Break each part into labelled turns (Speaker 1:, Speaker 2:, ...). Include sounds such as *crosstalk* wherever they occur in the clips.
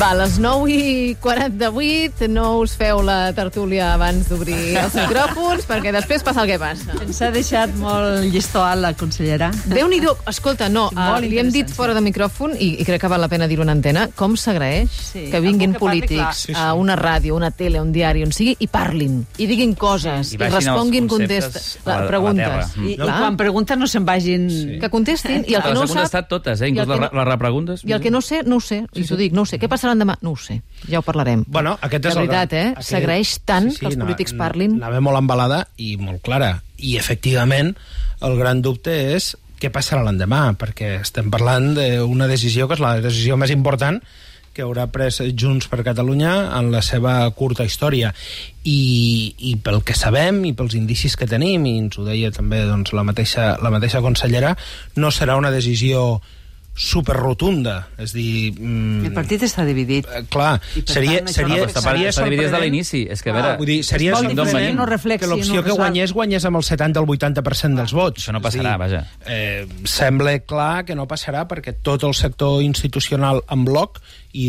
Speaker 1: Va, a les 9 i 48 no us feu la tertúlia abans d'obrir
Speaker 2: *laughs*
Speaker 1: els micròfons, perquè després passa el que passa.
Speaker 2: Ens ha deixat molt llistó alt la consellera.
Speaker 1: Déu-n'hi-do. Escolta, no, uh,
Speaker 2: Molt
Speaker 1: li hem dit
Speaker 2: interessant, sí.
Speaker 1: fora de micròfon, i, i crec que val la pena dir-ho en antena, com s'agraeix
Speaker 2: Sí,
Speaker 1: que vinguin
Speaker 2: algú que parli clar.
Speaker 1: polítics
Speaker 3: Sí, sí.
Speaker 1: a una ràdio, una tele, un diari, on sigui, i parlin, i diguin coses,
Speaker 3: I
Speaker 1: i,
Speaker 3: baixin els
Speaker 1: responguin
Speaker 3: conceptes
Speaker 1: contestes,
Speaker 3: a la- a la terra.
Speaker 1: preguntes.
Speaker 3: Mm.
Speaker 2: I, i
Speaker 1: Clar.
Speaker 2: quan pregunta no se'n vagin...
Speaker 1: que contestin, i el que
Speaker 3: les
Speaker 1: no
Speaker 3: he
Speaker 1: ho sap...
Speaker 3: contestat totes, eh?
Speaker 1: i el
Speaker 3: Inclús
Speaker 1: que
Speaker 3: les,
Speaker 1: no-
Speaker 3: re- les repreguntes.
Speaker 1: I el que no sé, no ho sé, i t'ho dic, no ho sé. Què passarà demà? No ho sé, ja ho parlarem.
Speaker 4: Bueno, aquest
Speaker 1: de
Speaker 4: és el
Speaker 1: veritat,
Speaker 4: gran-
Speaker 1: eh?
Speaker 4: aquest-
Speaker 1: S'agraeix tant que els
Speaker 4: ana-
Speaker 1: polítics parlin.
Speaker 4: Anava molt embalada i molt clara. I, efectivament, el gran dubte és què passarà l'endemà, perquè estem parlant d'una decisió que és la decisió més important que haurà pres Junts per Catalunya en la seva curta història. I, i pel que sabem i pels indicis que tenim, i ens ho deia també doncs, la, mateixa, la mateixa consellera, no serà una decisió superrotunda. És a dir... mm,
Speaker 2: El partit està dividit.
Speaker 4: eh, clar,
Speaker 2: I per
Speaker 4: seria,
Speaker 2: tant, això no
Speaker 3: No,
Speaker 4: seria, seria,
Speaker 3: però està, per, està dividit des de
Speaker 4: sorprenent- Ah,
Speaker 3: l'inici. És que, a
Speaker 2: Clar,
Speaker 3: veure,
Speaker 4: Vull dir, seria
Speaker 2: És molt
Speaker 3: d'on
Speaker 2: diferent,
Speaker 3: venim.
Speaker 2: no reflexi,
Speaker 4: que
Speaker 2: no
Speaker 4: l'opció que
Speaker 2: resol.
Speaker 4: guanyés, guanyés amb el 70 o el 80% dels vots.
Speaker 3: Això no
Speaker 4: És a dir,
Speaker 3: passarà, vaja.
Speaker 4: Eh, sembla clar que no passarà perquè tot el sector institucional en bloc i,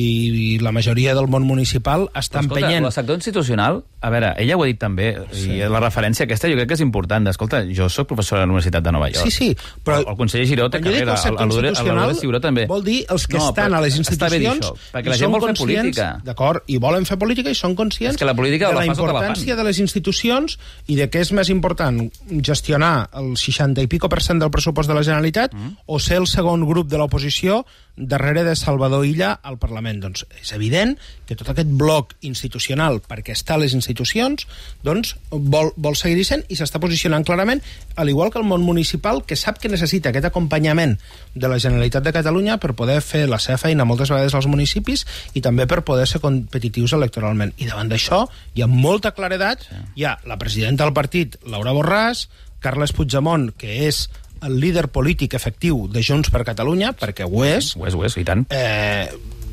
Speaker 4: i la majoria del món municipal està
Speaker 3: Escolta,
Speaker 4: empenyent.
Speaker 3: el sector institucional, a veure, ella ho ha dit també, sí. i la referència aquesta jo crec que és important. Escolta, jo sóc professora a la Universitat de Nova York.
Speaker 4: Sí, sí, però...
Speaker 3: El, el conseller Giró té
Speaker 4: quan jo dic
Speaker 3: carrera,
Speaker 4: el sector
Speaker 3: el, el, el,
Speaker 4: institucional,
Speaker 3: el Giró també.
Speaker 4: Vol dir els que
Speaker 3: No,
Speaker 4: estan
Speaker 3: però
Speaker 4: a les
Speaker 3: està bé dir
Speaker 4: institucions...
Speaker 3: això, perquè la
Speaker 4: i
Speaker 3: gent
Speaker 4: són
Speaker 3: vol fer
Speaker 4: conscients-
Speaker 3: política.
Speaker 4: D'acord, i volen fer política i són conscients
Speaker 3: És que la política
Speaker 4: de
Speaker 3: la
Speaker 4: la
Speaker 3: fan sota la
Speaker 4: importància
Speaker 3: fan.
Speaker 4: de les institucions i de què és més important gestionar el 60 i pico per cent del pressupost de la Generalitat mm. o ser el segon grup de l'oposició darrere de Salvador Illa al Parlament. Doncs és evident que tot aquest bloc institucional, perquè està a les institucions, doncs vol, vol seguir-hi sent i s'està posicionant clarament, al igual que el món municipal, que sap que necessita aquest acompanyament de la Generalitat de Catalunya per poder fer la seva feina moltes vegades als municipis i també per poder ser competitius electoralment. I davant d'això hi ha molta claredat, hi ha la presidenta del partit, Laura Borràs, Carles Puigdemont, que és el líder polític efectiu de Junts per Catalunya, perquè ho és,
Speaker 3: Ho és, ho és, i tant.
Speaker 4: eh,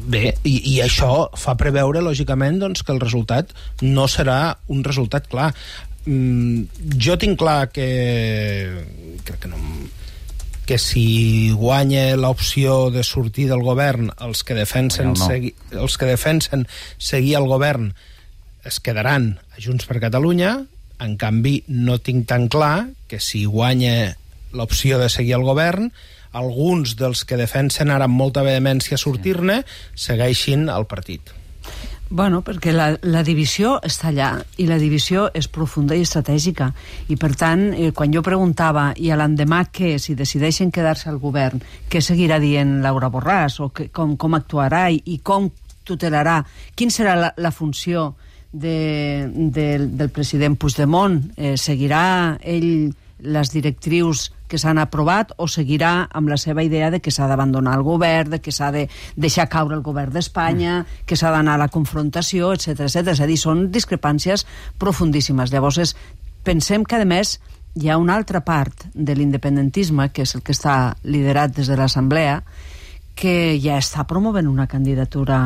Speaker 4: bé, i, i això fa preveure, lògicament, doncs, que el resultat no serà un resultat clar. Mm, jo tinc clar que... Crec que no em- que si guanya l'opció de sortir del govern els que defensen,
Speaker 3: Guanyar el no.
Speaker 4: segui, els que defensen seguir el govern es quedaran a Junts per Catalunya, en canvi no tinc tan clar que si guanya l'opció de seguir el govern, alguns dels que defensen ara amb molta vehemència sortir-ne segueixin el partit.
Speaker 2: Bueno, perquè la, la divisió està allà i la divisió és profunda i estratègica i per tant, eh, quan jo preguntava i a l'endemà què, si decideixen quedar-se al govern, què seguirà dient Laura Borràs o que, com, com actuarà i, i com tutelarà, quin serà la, la funció de, del- del president Puigdemont eh, seguirà ell les directrius que s'han aprovat o seguirà amb la seva idea de que s'ha d'abandonar el govern, de que s'ha de deixar caure el govern
Speaker 3: Mm.
Speaker 2: d'Espanya, que s'ha d'anar a la confrontació, etc etc. És a dir, són discrepàncies profundíssimes. Llavors, és, pensem que, a més, hi ha una altra part de l'independentisme, que és el que està liderat des de l'Assemblea, que ja està promovent una candidatura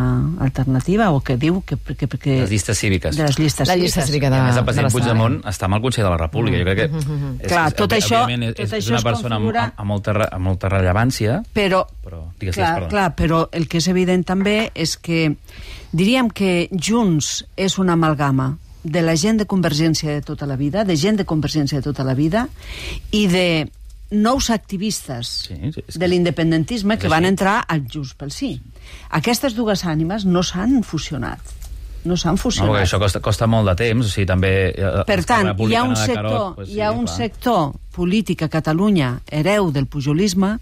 Speaker 2: alternativa o que diu que... que, que
Speaker 3: Les llistes cíviques.
Speaker 2: De les llistes
Speaker 1: La llista
Speaker 2: cíviques.
Speaker 1: cívica de,
Speaker 3: I a més, el
Speaker 1: de
Speaker 3: president
Speaker 1: l'Estat.
Speaker 3: Puigdemont està amb el Consell de la República. Jo crec que és,
Speaker 2: Clar,
Speaker 3: és,
Speaker 2: tot
Speaker 3: obvi-
Speaker 2: això-
Speaker 3: òbviament, és,
Speaker 2: tot
Speaker 3: és
Speaker 2: això
Speaker 3: una
Speaker 2: es
Speaker 3: persona amb,
Speaker 2: configura-
Speaker 3: amb, amb, molta, re- amb molta rellevància,
Speaker 2: però,
Speaker 3: Però, digues,
Speaker 2: clar,
Speaker 3: perdona.
Speaker 2: clar, però el que és evident també és que diríem que Junts és una amalgama de la gent de Convergència de tota la vida, de gent de Convergència de tota la vida i de nous activistes
Speaker 3: Sí, sí, és que-
Speaker 2: de l'independentisme que
Speaker 3: és
Speaker 2: van
Speaker 3: així.
Speaker 2: entrar al Junts pel Sí. Aquestes dues ànimes no s'han fusionat. No s'han
Speaker 3: no,
Speaker 2: fusionat.
Speaker 3: perquè això costa, costa molt de temps, o sigui, també... eh,
Speaker 2: Per
Speaker 3: Esquerra
Speaker 2: tant, hi ha
Speaker 3: Republicana
Speaker 2: un
Speaker 3: de
Speaker 2: sector,
Speaker 3: Carot, pues,
Speaker 2: hi ha
Speaker 3: sí,
Speaker 2: un
Speaker 3: clar.
Speaker 2: sector polític a Catalunya, hereu del pujolisme,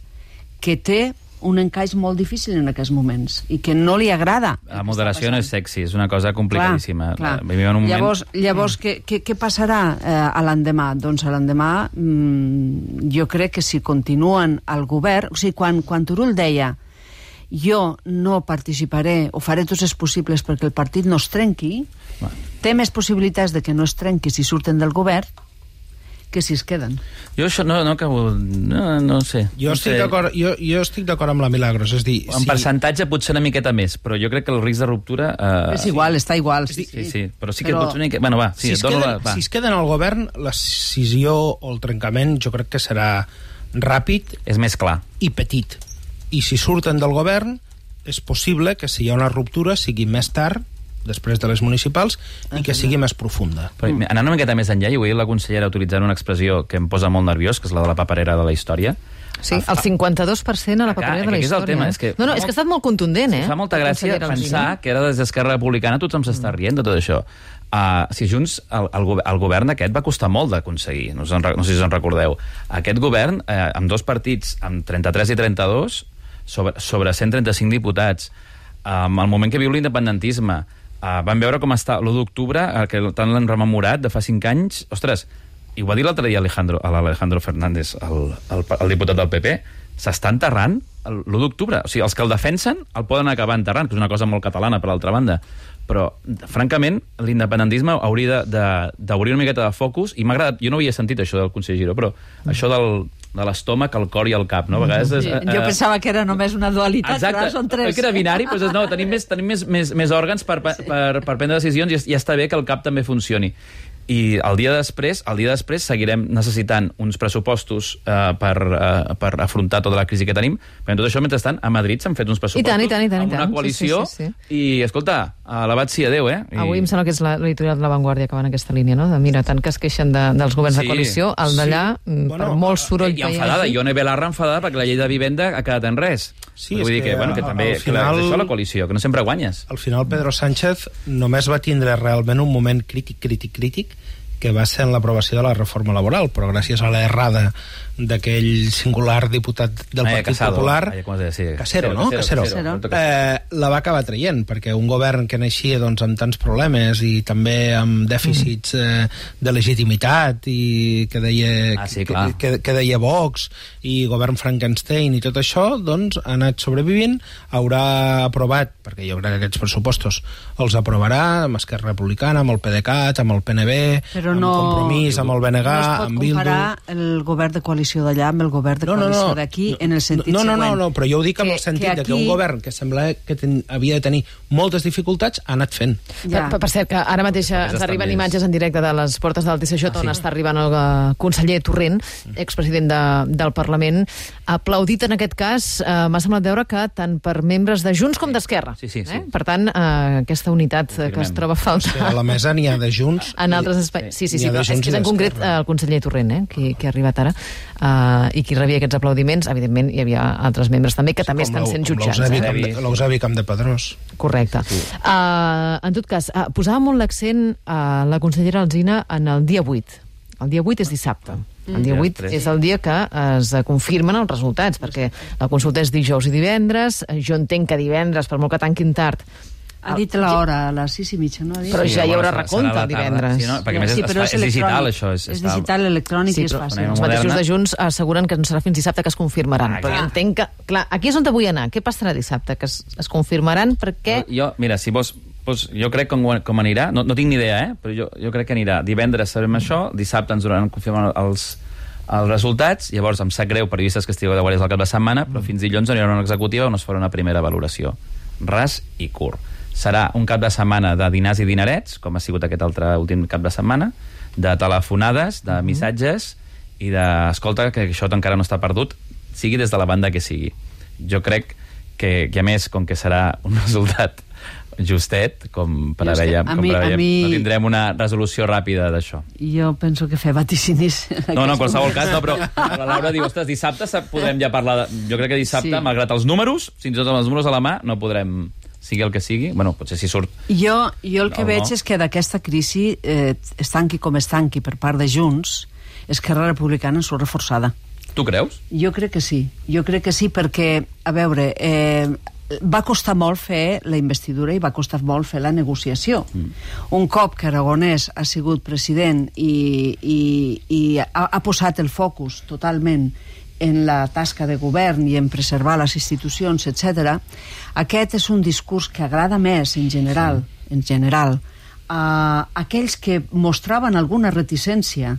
Speaker 2: que té un encaix molt difícil en aquests moments i que no li agrada. el
Speaker 3: La
Speaker 2: que
Speaker 3: moderació
Speaker 2: està
Speaker 3: no és
Speaker 2: passant.
Speaker 3: sexy, és una cosa complicadíssima. Eh,
Speaker 2: Clar, clar.
Speaker 3: Vivim en un moment... Mm.
Speaker 2: Llavors, llavors què, què, què passarà eh, a l'endemà? Doncs a l'endemà mm, jo crec que si continuen al govern... O sigui, quan, quan Turull deia jo no participaré o faré tots els possibles perquè el partit no es trenqui,
Speaker 3: Va.
Speaker 2: té més possibilitats de que no es trenqui si surten del govern que si es queden.
Speaker 3: Jo això no, no acabo... No, no sé.
Speaker 4: Jo
Speaker 3: no sé.
Speaker 4: estic d'acord jo, jo estic d'acord amb la Milagros, és a dir...
Speaker 3: En percentatge potser una miqueta més, però jo crec que el risc de ruptura... Eh,
Speaker 2: és igual, està igual.
Speaker 3: Sí, sí, sí, però sí que
Speaker 2: Però-
Speaker 3: potser una miqueta... Bueno, va,
Speaker 4: Sí, si,
Speaker 3: sí,
Speaker 4: es
Speaker 3: dono la...
Speaker 4: queden,
Speaker 3: Va.
Speaker 4: si es queden al govern, la decisió o el trencament jo crec que serà ràpid
Speaker 3: És més clar.
Speaker 4: i petit. I si surten del govern, és possible que si hi ha una ruptura sigui més tard, després de les municipals, i que sigui més profunda.
Speaker 3: Però, anant una miqueta més enllà, i ho ha dit la consellera utilitzant una expressió que em posa molt nerviós, que és la de la paperera de la història,
Speaker 1: Sí, el 52% a la
Speaker 3: Clar,
Speaker 1: paperera de la
Speaker 3: aquest és el
Speaker 1: història.
Speaker 3: tema,
Speaker 1: eh?
Speaker 3: és que-
Speaker 1: No, no, és que ha estat molt contundent, eh?
Speaker 3: Fa molta gràcia
Speaker 1: Consellera Alsina. Mm.
Speaker 3: pensar que ara des d'Esquerra Republicana tothom s'està rient de tot això. Uh, si Junts, el, el, gover- el govern aquest va costar molt d'aconseguir, no, us en re- no sé si us en recordeu. Aquest govern, eh, amb dos partits, amb 33 i 32, sobre, sobre 135 diputats, amb el moment que viu l'independentisme, uh, van veure com està l'1 d'octubre, eh, que tant l'han rememorat de fa 5 anys, ostres, i ho va dir l'altre dia Alejandro, a l'Alejandro Fernández, el, el, el diputat del PP, s'està enterrant el- l'1 d'octubre. O sigui, els que el defensen el poden acabar enterrant, que és una cosa molt catalana, per l'altra banda. Però, francament, l'independentisme hauria de- de- d'obrir una miqueta de focus, i m'ha agradat, jo no havia sentit això del conseller Giró, però això del, de l'estómac, el cor i el cap, no? A vegades... és,
Speaker 2: Mm. Sí,
Speaker 3: eh,
Speaker 2: jo
Speaker 3: eh,
Speaker 2: pensava que era només una dualitat, però ara són tres.
Speaker 3: que era binari, doncs no, tenim més, tenim més, més, més òrgans per, per, per, per prendre decisions i, es- i està bé que el CAP també funcioni. I el dia després, el dia després seguirem necessitant uns pressupostos eh, per, eh, per afrontar tota la crisi que tenim, però en tot això, mentrestant, a Madrid s'han fet uns pressupostos
Speaker 1: I tant, i tant, i tant, i
Speaker 3: amb una
Speaker 1: tant. Sí,
Speaker 3: coalició
Speaker 1: sí, sí,
Speaker 3: i, escolta, alabat sia Déu, eh? I...
Speaker 1: Avui em sembla que és la- l'editorial de La Vanguardia que va en aquesta línia, no? De, mira, tant que es queixen de, dels governs
Speaker 3: Sí,
Speaker 1: de
Speaker 3: eh,
Speaker 1: coalició, el d'allà,
Speaker 4: sí.
Speaker 1: mm,
Speaker 4: Bueno,
Speaker 1: per molt soroll
Speaker 3: I
Speaker 1: que hi
Speaker 3: enfadada,
Speaker 1: hagi...
Speaker 3: Ione Belarra enfadada perquè la llei de vivenda ha quedat en res.
Speaker 4: Sí,
Speaker 3: Vull
Speaker 4: és
Speaker 3: dir que,
Speaker 4: que
Speaker 3: bueno, que
Speaker 4: al-
Speaker 3: també
Speaker 4: al
Speaker 3: que la,
Speaker 4: final-
Speaker 3: és això la coalició, que no sempre guanyes.
Speaker 4: Al final, Pedro Sánchez només va tindre realment un moment crític, crític, crític, que va ser en l'aprovació de la reforma laboral, però gràcies a l'errada d'aquell singular diputat del
Speaker 3: Ai,
Speaker 4: Partit
Speaker 3: Casado.
Speaker 4: Popular...
Speaker 3: Ai, com es deia? Sí,
Speaker 4: Casero, no?
Speaker 3: Casero,
Speaker 4: Casero.
Speaker 3: Casero. Casero.
Speaker 4: Eh, la va acabar traient, perquè un govern que naixia doncs, amb tants problemes i també amb
Speaker 3: Mm.
Speaker 4: dèficits eh, de legitimitat i que deia,
Speaker 3: Ah, sí,
Speaker 4: que,
Speaker 3: clar.
Speaker 4: que, que deia Vox i govern Frankenstein i tot això, doncs ha anat sobrevivint, haurà aprovat, perquè jo crec que aquests pressupostos els aprovarà amb Esquerra Republicana, amb el PDeCAT, amb el PNB,
Speaker 2: Però
Speaker 4: amb
Speaker 2: no-
Speaker 4: Compromís, amb el BNG,
Speaker 2: no es pot
Speaker 4: amb Bildu...
Speaker 2: comparar el govern de coalició d'allà amb el govern de coalició d'aquí en el sentit
Speaker 4: no, no,
Speaker 2: següent.
Speaker 4: No, no, però jo ho dic en
Speaker 2: Que-
Speaker 4: el sentit
Speaker 2: que
Speaker 4: de que un
Speaker 2: aquí-
Speaker 4: govern que semblava que ten, havia de tenir moltes dificultats ha anat fent.
Speaker 1: Ja.
Speaker 2: Ja.
Speaker 1: Per, per cert, que ara mateix ens
Speaker 3: estan
Speaker 1: arriben
Speaker 3: més.
Speaker 1: imatges en directe de les portes del TSJ on
Speaker 3: Ah,
Speaker 1: està arribant el eh, conseller Torrent,
Speaker 3: Mm.
Speaker 1: expresident de, del Parlament, aplaudit en aquest cas, eh, m'ha semblat veure que tant per membres de Junts com d'Esquerra.
Speaker 3: Sí, sí, sí.
Speaker 1: Eh? Per tant, eh, aquesta unitat eh, que es
Speaker 3: Confirmem.
Speaker 1: troba a faltar...
Speaker 4: A la mesa n'hi ha de Junts...
Speaker 1: en
Speaker 4: i-
Speaker 1: altres espais. Sí, sí,
Speaker 4: N'hi
Speaker 1: sí,
Speaker 4: ha de
Speaker 1: però és
Speaker 4: Junts
Speaker 1: que és
Speaker 4: i
Speaker 1: en concret eh,
Speaker 4: d'Esquerra.
Speaker 1: el conseller Torrent, eh, qui, qui ha arribat ara, eh, i qui rebia aquests aplaudiments, evidentment hi havia altres membres també que també
Speaker 4: Com
Speaker 1: estan
Speaker 4: l'Eu-
Speaker 1: sent
Speaker 4: com
Speaker 1: jutjats.
Speaker 4: l'Eusebi
Speaker 1: Eh?
Speaker 4: Camp de- L'Eusebi Camp de Pedrós.
Speaker 1: Correcte. Uh, en tot cas, uh, posava molt l'accent a la consellera Alzina en el dia 8. El dia 8 és dissabte. El dia
Speaker 3: Mm.
Speaker 1: 8 és el dia que es confirmen els resultats, perquè la consulta és dijous i divendres. Eh, Jo entenc que divendres, per molt que tanquin tard,
Speaker 2: Ha dit l'hora, a les sis i mitja, no ha dit?
Speaker 1: Però ja hi
Speaker 3: bueno,
Speaker 1: haurà
Speaker 3: serà-
Speaker 1: recompte
Speaker 3: serà a la tarda.
Speaker 1: divendres.
Speaker 3: Sí, no? Perquè a més
Speaker 2: sí,
Speaker 3: és,
Speaker 2: però
Speaker 3: es fa- és digital,
Speaker 2: electrònic.
Speaker 3: això. És,
Speaker 2: És
Speaker 3: està-
Speaker 2: digital, electrònic
Speaker 1: Sí,
Speaker 2: i és
Speaker 1: però
Speaker 2: fàcil.
Speaker 3: anem
Speaker 1: els
Speaker 3: moderna.
Speaker 1: mateixos de Junts asseguren que no serà fins dissabte que es confirmaran.
Speaker 3: Ah,
Speaker 1: però jo
Speaker 3: clar.
Speaker 1: entenc que... Clar, aquí és on te vull anar. Què passarà dissabte? Que es, es confirmaran perquè...
Speaker 3: Jo, mira, si vols, doncs jo crec com, com anirà, no, no tinc ni idea, eh? però jo, jo crec que anirà. Divendres sabrem això, dissabte ens donaran confirmant els, els resultats, llavors em sap greu periodistes que estigueu de guàrdies al cap de setmana, però fins dilluns anirà una executiva on es farà una primera valoració. Ras i curt. Serà un cap de setmana de dinars i dinarets, com ha sigut aquest altre últim cap de setmana, de telefonades, de missatges i de, escolta, que això encara no està perdut, sigui des de la banda que sigui. Jo crec que, que a més, com que serà un *laughs* resultat justet, com preveia,
Speaker 2: Justet. A
Speaker 3: com
Speaker 2: mi- a
Speaker 3: preveiem,
Speaker 2: mi-
Speaker 3: no tindrem una resolució ràpida d'això.
Speaker 2: Jo penso que fer vaticinis...
Speaker 3: No, no, en qualsevol cas,
Speaker 2: *laughs*
Speaker 3: no, però la Laura diu, ostres, dissabte sap- podrem ja parlar... De... Jo crec que dissabte, sí.
Speaker 2: Sí.
Speaker 3: malgrat els números, fins i tot amb els números a la mà, no podrem, sigui el que sigui, bueno, potser si surt...
Speaker 2: Jo, jo el que no,
Speaker 3: No,
Speaker 2: veig
Speaker 3: no.
Speaker 2: és que d'aquesta crisi, eh, es tanqui com es tanqui per part de Junts, Esquerra Republicana en surt reforçada.
Speaker 3: Tu creus?
Speaker 2: Jo crec que sí, jo crec que sí perquè, a veure, eh, va costar molt fer la investidura i va costar molt fer la negociació. Mm. Un cop que Aragonès ha sigut president i, i, i ha, ha posat el focus totalment en la tasca de govern i en preservar les institucions, etc. aquest és un discurs que agrada més en general, sí. en general, a aquells que mostraven alguna reticència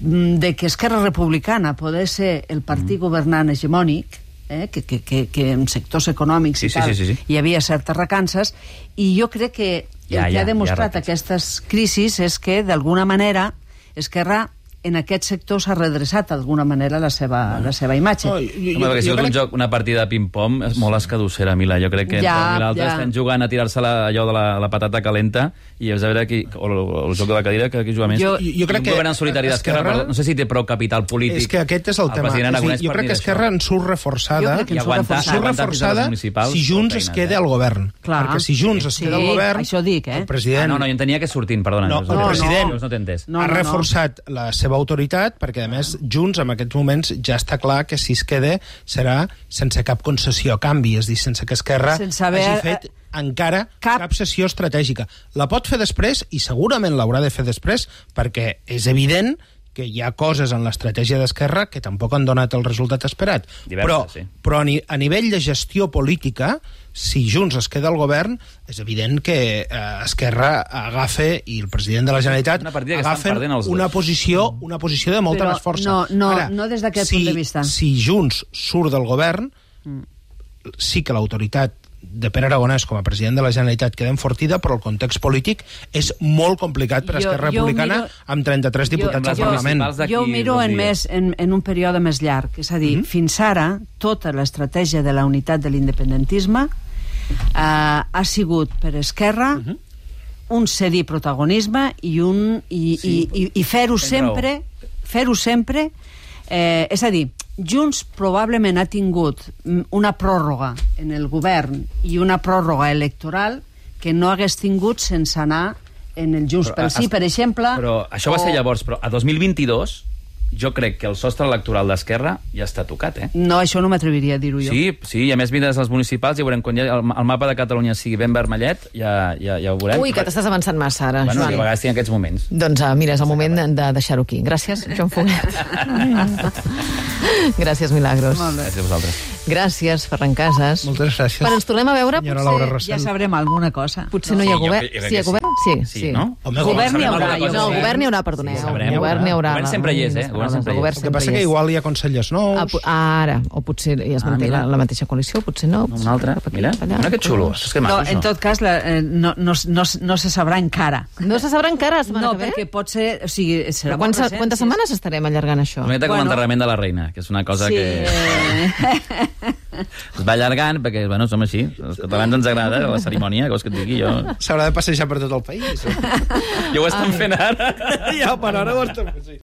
Speaker 2: mm, de que Esquerra Republicana poder ser el
Speaker 3: Mm.
Speaker 2: partit governant hegemònic, eh, que, que, que, que en sectors econòmics
Speaker 3: Sí,
Speaker 2: i
Speaker 3: sí,
Speaker 2: tal,
Speaker 3: sí, sí, sí.
Speaker 2: hi havia certes recances, i jo crec que el
Speaker 3: Ja,
Speaker 2: que
Speaker 3: ja,
Speaker 2: ha
Speaker 3: hi ha
Speaker 2: demostrat
Speaker 3: recances.
Speaker 2: aquestes crisis és que, d'alguna manera, Esquerra en aquest sector s'ha redreçat d'alguna manera la seva, la seva imatge.
Speaker 4: No, jo-
Speaker 3: Home, perquè si és un joc, una partida de ping-pong, és molt escadussera, Mila. Jo crec que
Speaker 2: Ja,
Speaker 3: entre un i l'altre
Speaker 2: ja.
Speaker 3: estem jugant a tirar-se la, allò de la, la patata calenta i és a veure qui, o, el, el joc de la cadira que qui juga més.
Speaker 2: Jo-
Speaker 4: jo- jo crec
Speaker 3: I un
Speaker 4: que
Speaker 3: govern en solitari d'Esquerra,
Speaker 4: Esquerra-
Speaker 3: però no sé si té prou capital polític.
Speaker 4: És que aquest és el, tema.
Speaker 3: president
Speaker 4: És a dir,
Speaker 3: Aragonès
Speaker 4: jo crec que Esquerra en surt reforçada.
Speaker 2: Jo crec que
Speaker 3: I
Speaker 2: en surt
Speaker 3: aguantar,
Speaker 2: reforçada.
Speaker 4: surt
Speaker 3: aguantar fins a les
Speaker 4: reforçada
Speaker 3: municipals, tota
Speaker 4: si Junts es
Speaker 3: feina, eh?
Speaker 4: queda
Speaker 3: ja.
Speaker 4: al govern.
Speaker 2: Clar.
Speaker 4: Perquè si Junts es
Speaker 2: Sí,
Speaker 4: queda al govern,
Speaker 2: això dic, eh?
Speaker 4: el president
Speaker 3: Ah, no, no, jo entenia que sortint, perdona.
Speaker 4: No,
Speaker 3: Llavors,
Speaker 4: el
Speaker 3: llavors,
Speaker 4: president-
Speaker 3: llavors No t'he entès.
Speaker 2: No,
Speaker 4: ha
Speaker 2: no, no.
Speaker 4: reforçat la seva autoritat, perquè, a més, Junts en aquests moments ja està clar que si es queda serà sense cap concessió a canvi, és a dir, sense que Esquerra
Speaker 2: Sense haver-
Speaker 4: hagi fet encara
Speaker 2: cap-
Speaker 4: cap... cap sessió estratègica. La pot fer després i segurament l'haurà de fer després perquè és evident que hi ha coses en l'estratègia d'Esquerra que tampoc han donat el resultat esperat.
Speaker 3: Diverses,
Speaker 4: però,
Speaker 3: sí.
Speaker 4: però a, ni, a nivell de gestió política, si Junts es queda al govern, és evident que eh, Esquerra agafa i el president de la Generalitat
Speaker 3: Una partida que estan
Speaker 4: agafen
Speaker 3: perdent els dos. Mm.
Speaker 4: una posició, una posició de molta
Speaker 2: Però
Speaker 4: més força.
Speaker 2: no- no- no des d'aquest
Speaker 4: si,
Speaker 2: punt de vista. Mm.
Speaker 4: Si Junts surt del govern, sí que l'autoritat de Pere Aragonès com a president de la Generalitat queda enfortida, però el context polític és molt complicat per
Speaker 2: Jo-
Speaker 4: Esquerra
Speaker 2: jo
Speaker 4: Republicana
Speaker 2: miro-
Speaker 4: amb 33 diputats
Speaker 3: jo-
Speaker 4: al Parlament.
Speaker 3: municipals d'aquí Mhm.
Speaker 2: Jo ho miro
Speaker 3: dos
Speaker 2: en,
Speaker 3: dies.
Speaker 2: més, en, en un període més llarg. És a dir, mm -hmm. fins ara, tota l'estratègia de la unitat de l'independentisme eh, ha sigut per Esquerra mm
Speaker 3: Mhm.
Speaker 2: -hmm. un cedir protagonisme i, un- i, sí, i, i, i fer-ho
Speaker 3: tens raó.
Speaker 2: sempre fer-ho sempre eh, és a dir, Junts probablement ha tingut mm, una pròrroga en el govern i una pròrroga electoral que no hagués tingut sense anar en el Junts
Speaker 3: Però,
Speaker 2: pel Sí,
Speaker 3: es-
Speaker 2: per exemple...
Speaker 3: Però això va ser llavors, però a 2022 jo crec que el sostre electoral d'Esquerra ja està tocat, eh?
Speaker 2: No, això no m'atreviria a dir-ho jo. Eh,
Speaker 3: Sí, sí, i a més vindràs als municipals i veurem quan ja el, el mapa de Catalunya sigui ben vermellet, ja, ja, ja ho veurem.
Speaker 1: Ui, que t'estàs avançant massa ara,
Speaker 3: Bueno, a
Speaker 1: Joan.
Speaker 3: vegades tinc aquests moments.
Speaker 1: Doncs uh, mira, és el moment de deixar-ho aquí. Gràcies, Joan
Speaker 3: *laughs*
Speaker 1: Foguet. Gràcies, Milagros.
Speaker 2: Molt bé.
Speaker 3: Gràcies a vosaltres.
Speaker 1: Gràcies, Ferran Casas.
Speaker 4: Moltes gràcies.
Speaker 1: Quan ens tornem a veure,
Speaker 4: Senyora
Speaker 1: potser,
Speaker 4: Laura Rossell.
Speaker 2: Ja sabrem alguna cosa.
Speaker 1: potser no hi ha
Speaker 3: Sí, jo
Speaker 1: govern.
Speaker 3: crec- jo crec
Speaker 1: Sí, hi ha
Speaker 3: que sí.
Speaker 1: govern? Sí,
Speaker 3: Sí, no?
Speaker 4: Home,
Speaker 2: Govern
Speaker 4: com
Speaker 2: hi
Speaker 4: a-
Speaker 2: haurà, jo
Speaker 4: alguna cosa
Speaker 1: No,
Speaker 2: crec.
Speaker 4: sabrem.
Speaker 1: govern hi haurà, perdoneu.
Speaker 3: Sí, sabrem.
Speaker 1: govern hi haurà.
Speaker 3: Govern sempre hi és, eh? Govern sempre hi és.
Speaker 1: El
Speaker 4: El que passa que igual hi ha consellers nous.
Speaker 1: Ah, po- ara, o potser es
Speaker 3: Ah,
Speaker 1: manté
Speaker 3: mira.
Speaker 1: la, la mateixa coalició, potser no.
Speaker 3: Un altre,
Speaker 1: cap aquí,
Speaker 3: mira,
Speaker 1: cap allà.
Speaker 3: mira que xulo. És que
Speaker 2: No,
Speaker 3: maco,
Speaker 2: en
Speaker 3: això.
Speaker 2: tot cas, la, eh, no, no, no, no se sabrà encara.
Speaker 1: No se sabrà encara la setmana
Speaker 2: No,
Speaker 1: que ve?
Speaker 2: perquè pot ser... O sigui, serà
Speaker 1: Però quantes,
Speaker 2: molt recent,
Speaker 1: quantes
Speaker 2: sí,
Speaker 1: setmanes estarem allargant això?
Speaker 3: Una miqueta com
Speaker 2: Bueno.
Speaker 3: l'enterrament de la reina, que és una cosa
Speaker 2: Sí, *laughs*
Speaker 3: que
Speaker 2: eh,
Speaker 1: *laughs*
Speaker 2: *laughs*
Speaker 3: es va allargant, perquè, bueno, som així. Els catalans ens agrada la cerimònia, que vols que et digui jo.
Speaker 4: Ah.
Speaker 2: *laughs*
Speaker 4: S'haurà de passejar per tot el país.
Speaker 3: Jo ho estem fent ara.
Speaker 4: ja, per ara ho estem fent. sí.